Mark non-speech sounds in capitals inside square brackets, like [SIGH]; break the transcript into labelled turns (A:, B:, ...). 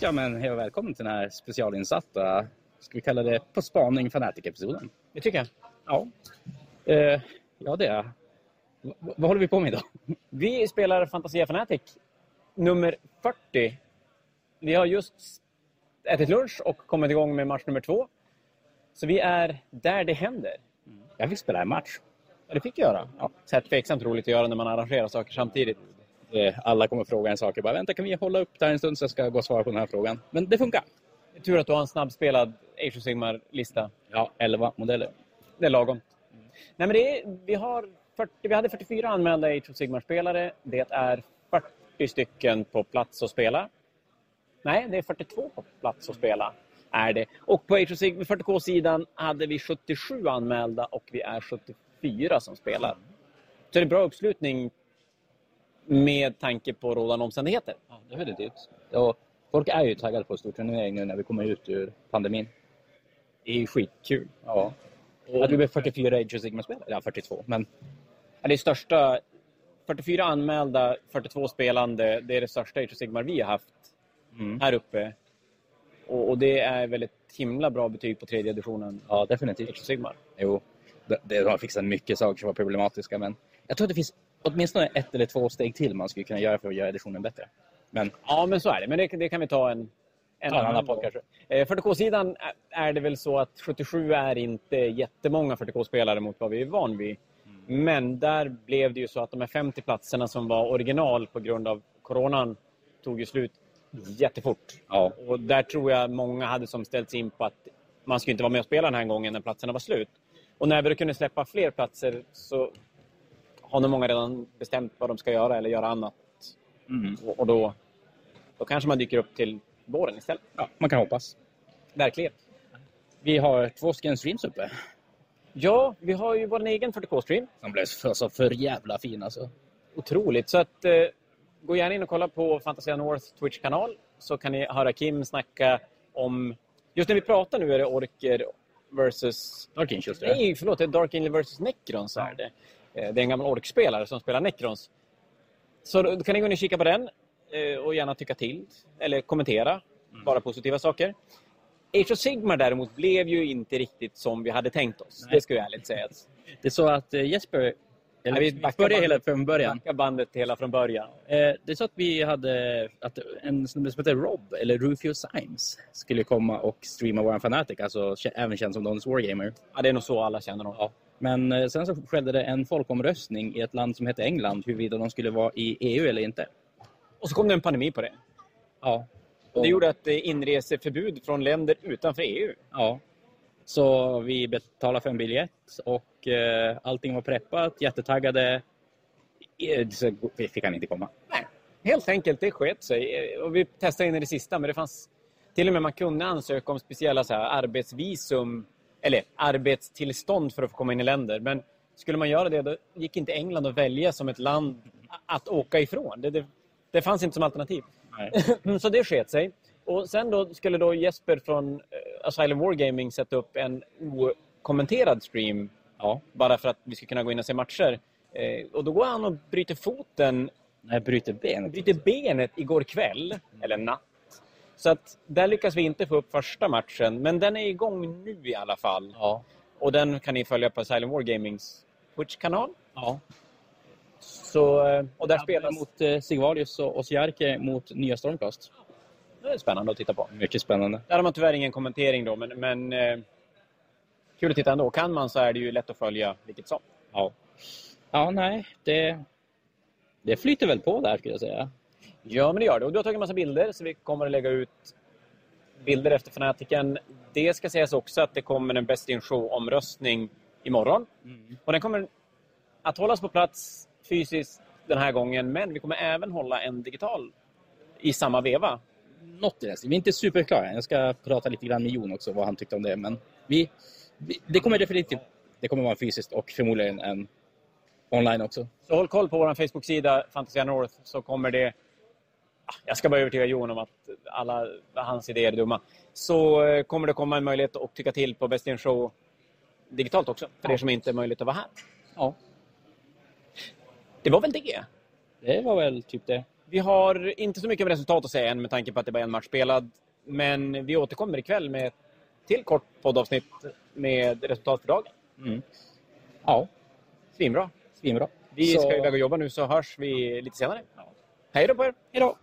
A: Ja, men hej och välkommen till den här specialinsatta, ska vi kalla det På spaning fanatiker-episoden.
B: Det tycker jag.
A: Ja. Eh, ja, det är jag. V- vad håller vi på med idag?
B: Vi spelar Fantasia Fanatic nummer 40. Vi har just ätit lunch och kommit igång med match nummer två. Så vi är där det händer.
A: Jag fick spela en match.
B: Ja, det fick jag göra. Ja, så här tveksamt roligt att göra när man arrangerar saker samtidigt.
A: Eh, alla kommer fråga en sak. Jag bara, vänta, kan vi hålla upp där en stund så jag ska gå och svara på den här frågan. Men det funkar.
B: Det är tur att du har en snabbspelad Age of Sigmar-lista.
A: Ja, 11 modeller.
B: Det är lagom. Nej, men det är, vi, har 40, vi hade 44 anmälda Age of Sigmar-spelare. Det är 40 stycken på plats att spela. Nej, det är 42 på plats att spela. Är det. Och på Age of Sigmar 40K-sidan hade vi 77 anmälda och vi är 74 som spelar. Så det är bra uppslutning med tanke på rådande omständigheter.
A: Ja, definitivt. Och folk är ju taggade på storturnering nu när vi kommer ut ur pandemin.
B: Det är ju skitkul.
A: Ja. Hade vi blivit 44 Age of Sigmar-spelare? Ja, 42. Men
B: Ja, det är största... 44 anmälda, 42 spelande. Det är det största Age of Sigmar vi har haft
A: mm.
B: här uppe. Och, och det är väl ett himla bra betyg på tredje editionen
A: ja,
B: Age of
A: definitivt.
B: Sigmar.
A: Jo, det, det har fixat mycket saker som var problematiska, men jag tror att det finns åtminstone ett eller två steg till man skulle kunna göra för att göra editionen bättre. Men
B: Ja, men så är det. Men det, det kan vi ta en, en,
A: en annan
B: gång.
A: podd kanske.
B: Eh, 40K-sidan är- är det väl så att 77 är inte jättemånga 40K-spelare mot vad vi är van vid. Men där blev det ju så att de här 50 platserna som var original på grund av coronan tog ju slut jättefort.
A: Ja,
B: Och där tror jag många hade som ställts in på att man skulle inte vara med och spela den här gången när platserna var slut. Och när vi då kunde släppa fler platser så har nog många redan bestämt vad de ska göra eller göra annat.
A: mm.
B: Och, och då, då kanske man dyker upp till våren istället.
A: ja man kan hoppas.
B: Verkligen.
A: Vi har två stycken streams uppe
B: Ja, vi har ju vår egen 40K-stream.
A: som blev för, så för jävla fin alltså.
B: Otroligt. Så att, eh, gå gärna in och kolla på Fantasia North Twitch-kanal så kan ni höra Kim snacka om... Just när vi pratar nu är det orker versus
A: Dark Angels, det.
B: Nej, förlåt. Det är Dark Angel vs Necrons är det. Eh, Det är en gammal orkspelare som spelar Necrons. Så då kan ni gå in och kika på den eh, och gärna tycka till eller kommentera.
A: Mm.
B: Bara positiva saker. Age of Sigmar däremot blev ju inte riktigt som vi hade tänkt oss.
A: Nej.
B: Det ska jag ärligt säga.
A: det är så att eh, Jesper, eller
B: Nej,
A: vi
B: vi backar
A: börjar
B: bandet.
A: hela från början.
B: Backa bandet hela från början.
A: Eh, Det är så att vi hade att en snubbe som heter Rob, eller Rufio Symes, skulle komma och streama våran Fanatic, alltså kä- även känd som Don's Wargamer.
B: Ja, det är nog så alla känner dem.
A: Ja. Men eh, sen så skedde det en folkomröstning i ett land som hette England huruvida de skulle vara i EU eller inte.
B: Och så kom det en pandemi på det.
A: Ja.
B: Och
A: Och,
B: det gjorde att det är inreseförbud från länder utanför E EU.
A: ja. Så vi betalade för en biljett och eh, allting var preppat, jättetaggade. Eh, Så vi fick han inte komma.
B: Nej, helt enkelt, det sket sig. Eh, Och vi testade in i det sista, men det fanns... Till och med man kunde ansöka om speciella så här, arbetsvisum eller arbetstillstånd för att få komma in i länder. Men skulle man göra det, då gick inte England att välja som ett land att åka ifrån. Det, det, det fanns inte som alternativ. [LAUGHS]
A: Nej.
B: Så det sket sig. Och sen då skulle då Jesper från eh, Asylum Wargaming sätta upp en okommenterad stream
A: Ja.
B: bara för att vi skulle kunna gå in och se matcher. Eh, Och då går han och bryter foten
A: När jag bryter benet.
B: bryter benet igår kväll, eller natt. Så att där lyckas vi inte få upp första matchen, men den är igång nu i alla fall.
A: Ja.
B: Och den kan ni följa på Silent War Gamings Twitch-kanal.
A: ja.
B: Så, eh, och där spelas...
A: mot eh, Sigvalius och Osjarke mot nya Stormcast.
B: Det är spännande att titta på.
A: Mycket spännande.
B: Där har man tyvärr ingen kommentering då, men, men eh, kul att titta ändå. Kan man så är det ju lätt att följa vilket som.
A: Ja. Ja, nej. Det, det flyter väl på där skulle jag säga.
B: Ja, men det gör det. Och du har tagit en massa bilder, så vi kommer att lägga ut bilder efter Fanatiken. Det ska sägas också att det kommer en Best in Show-omröstning imorgon.
A: Mm.
B: Och den kommer att hållas på plats fysiskt den här gången, men vi kommer även hålla en digital i samma veva.
A: något i den stilen. Vi är inte superklara än. Jag ska prata lite grann med Jon också, vad han tyckte om det. Men vi, vi, det kommer definitivt det kommer vara fysiskt och förmodligen en online också.
B: Så håll koll på vår Facebook-sida Fantasia North så kommer det... Ah, Jag ska bara övertyga Jon om att alla hans idéer är dumma. Så eh, kommer det komma en möjlighet att tycka till på Best in Show digitalt också, för er som inte är möjligt att vara här.
A: Ja,
B: Det var väl det?
A: det var väl typ det.
B: Vi har inte så mycket om resultat att säga än med tanke på att det bara är en match spelad. Men vi återkommer ikväll med ett till kort poddavsnitt med resultat för dagen.
A: Mm. Ja,
B: Svinbra.
A: svinbra.
B: Vi
A: Så-
B: ska iväg och jobba nu så hörs vi lite senare. Hej då på er!
A: Hej då!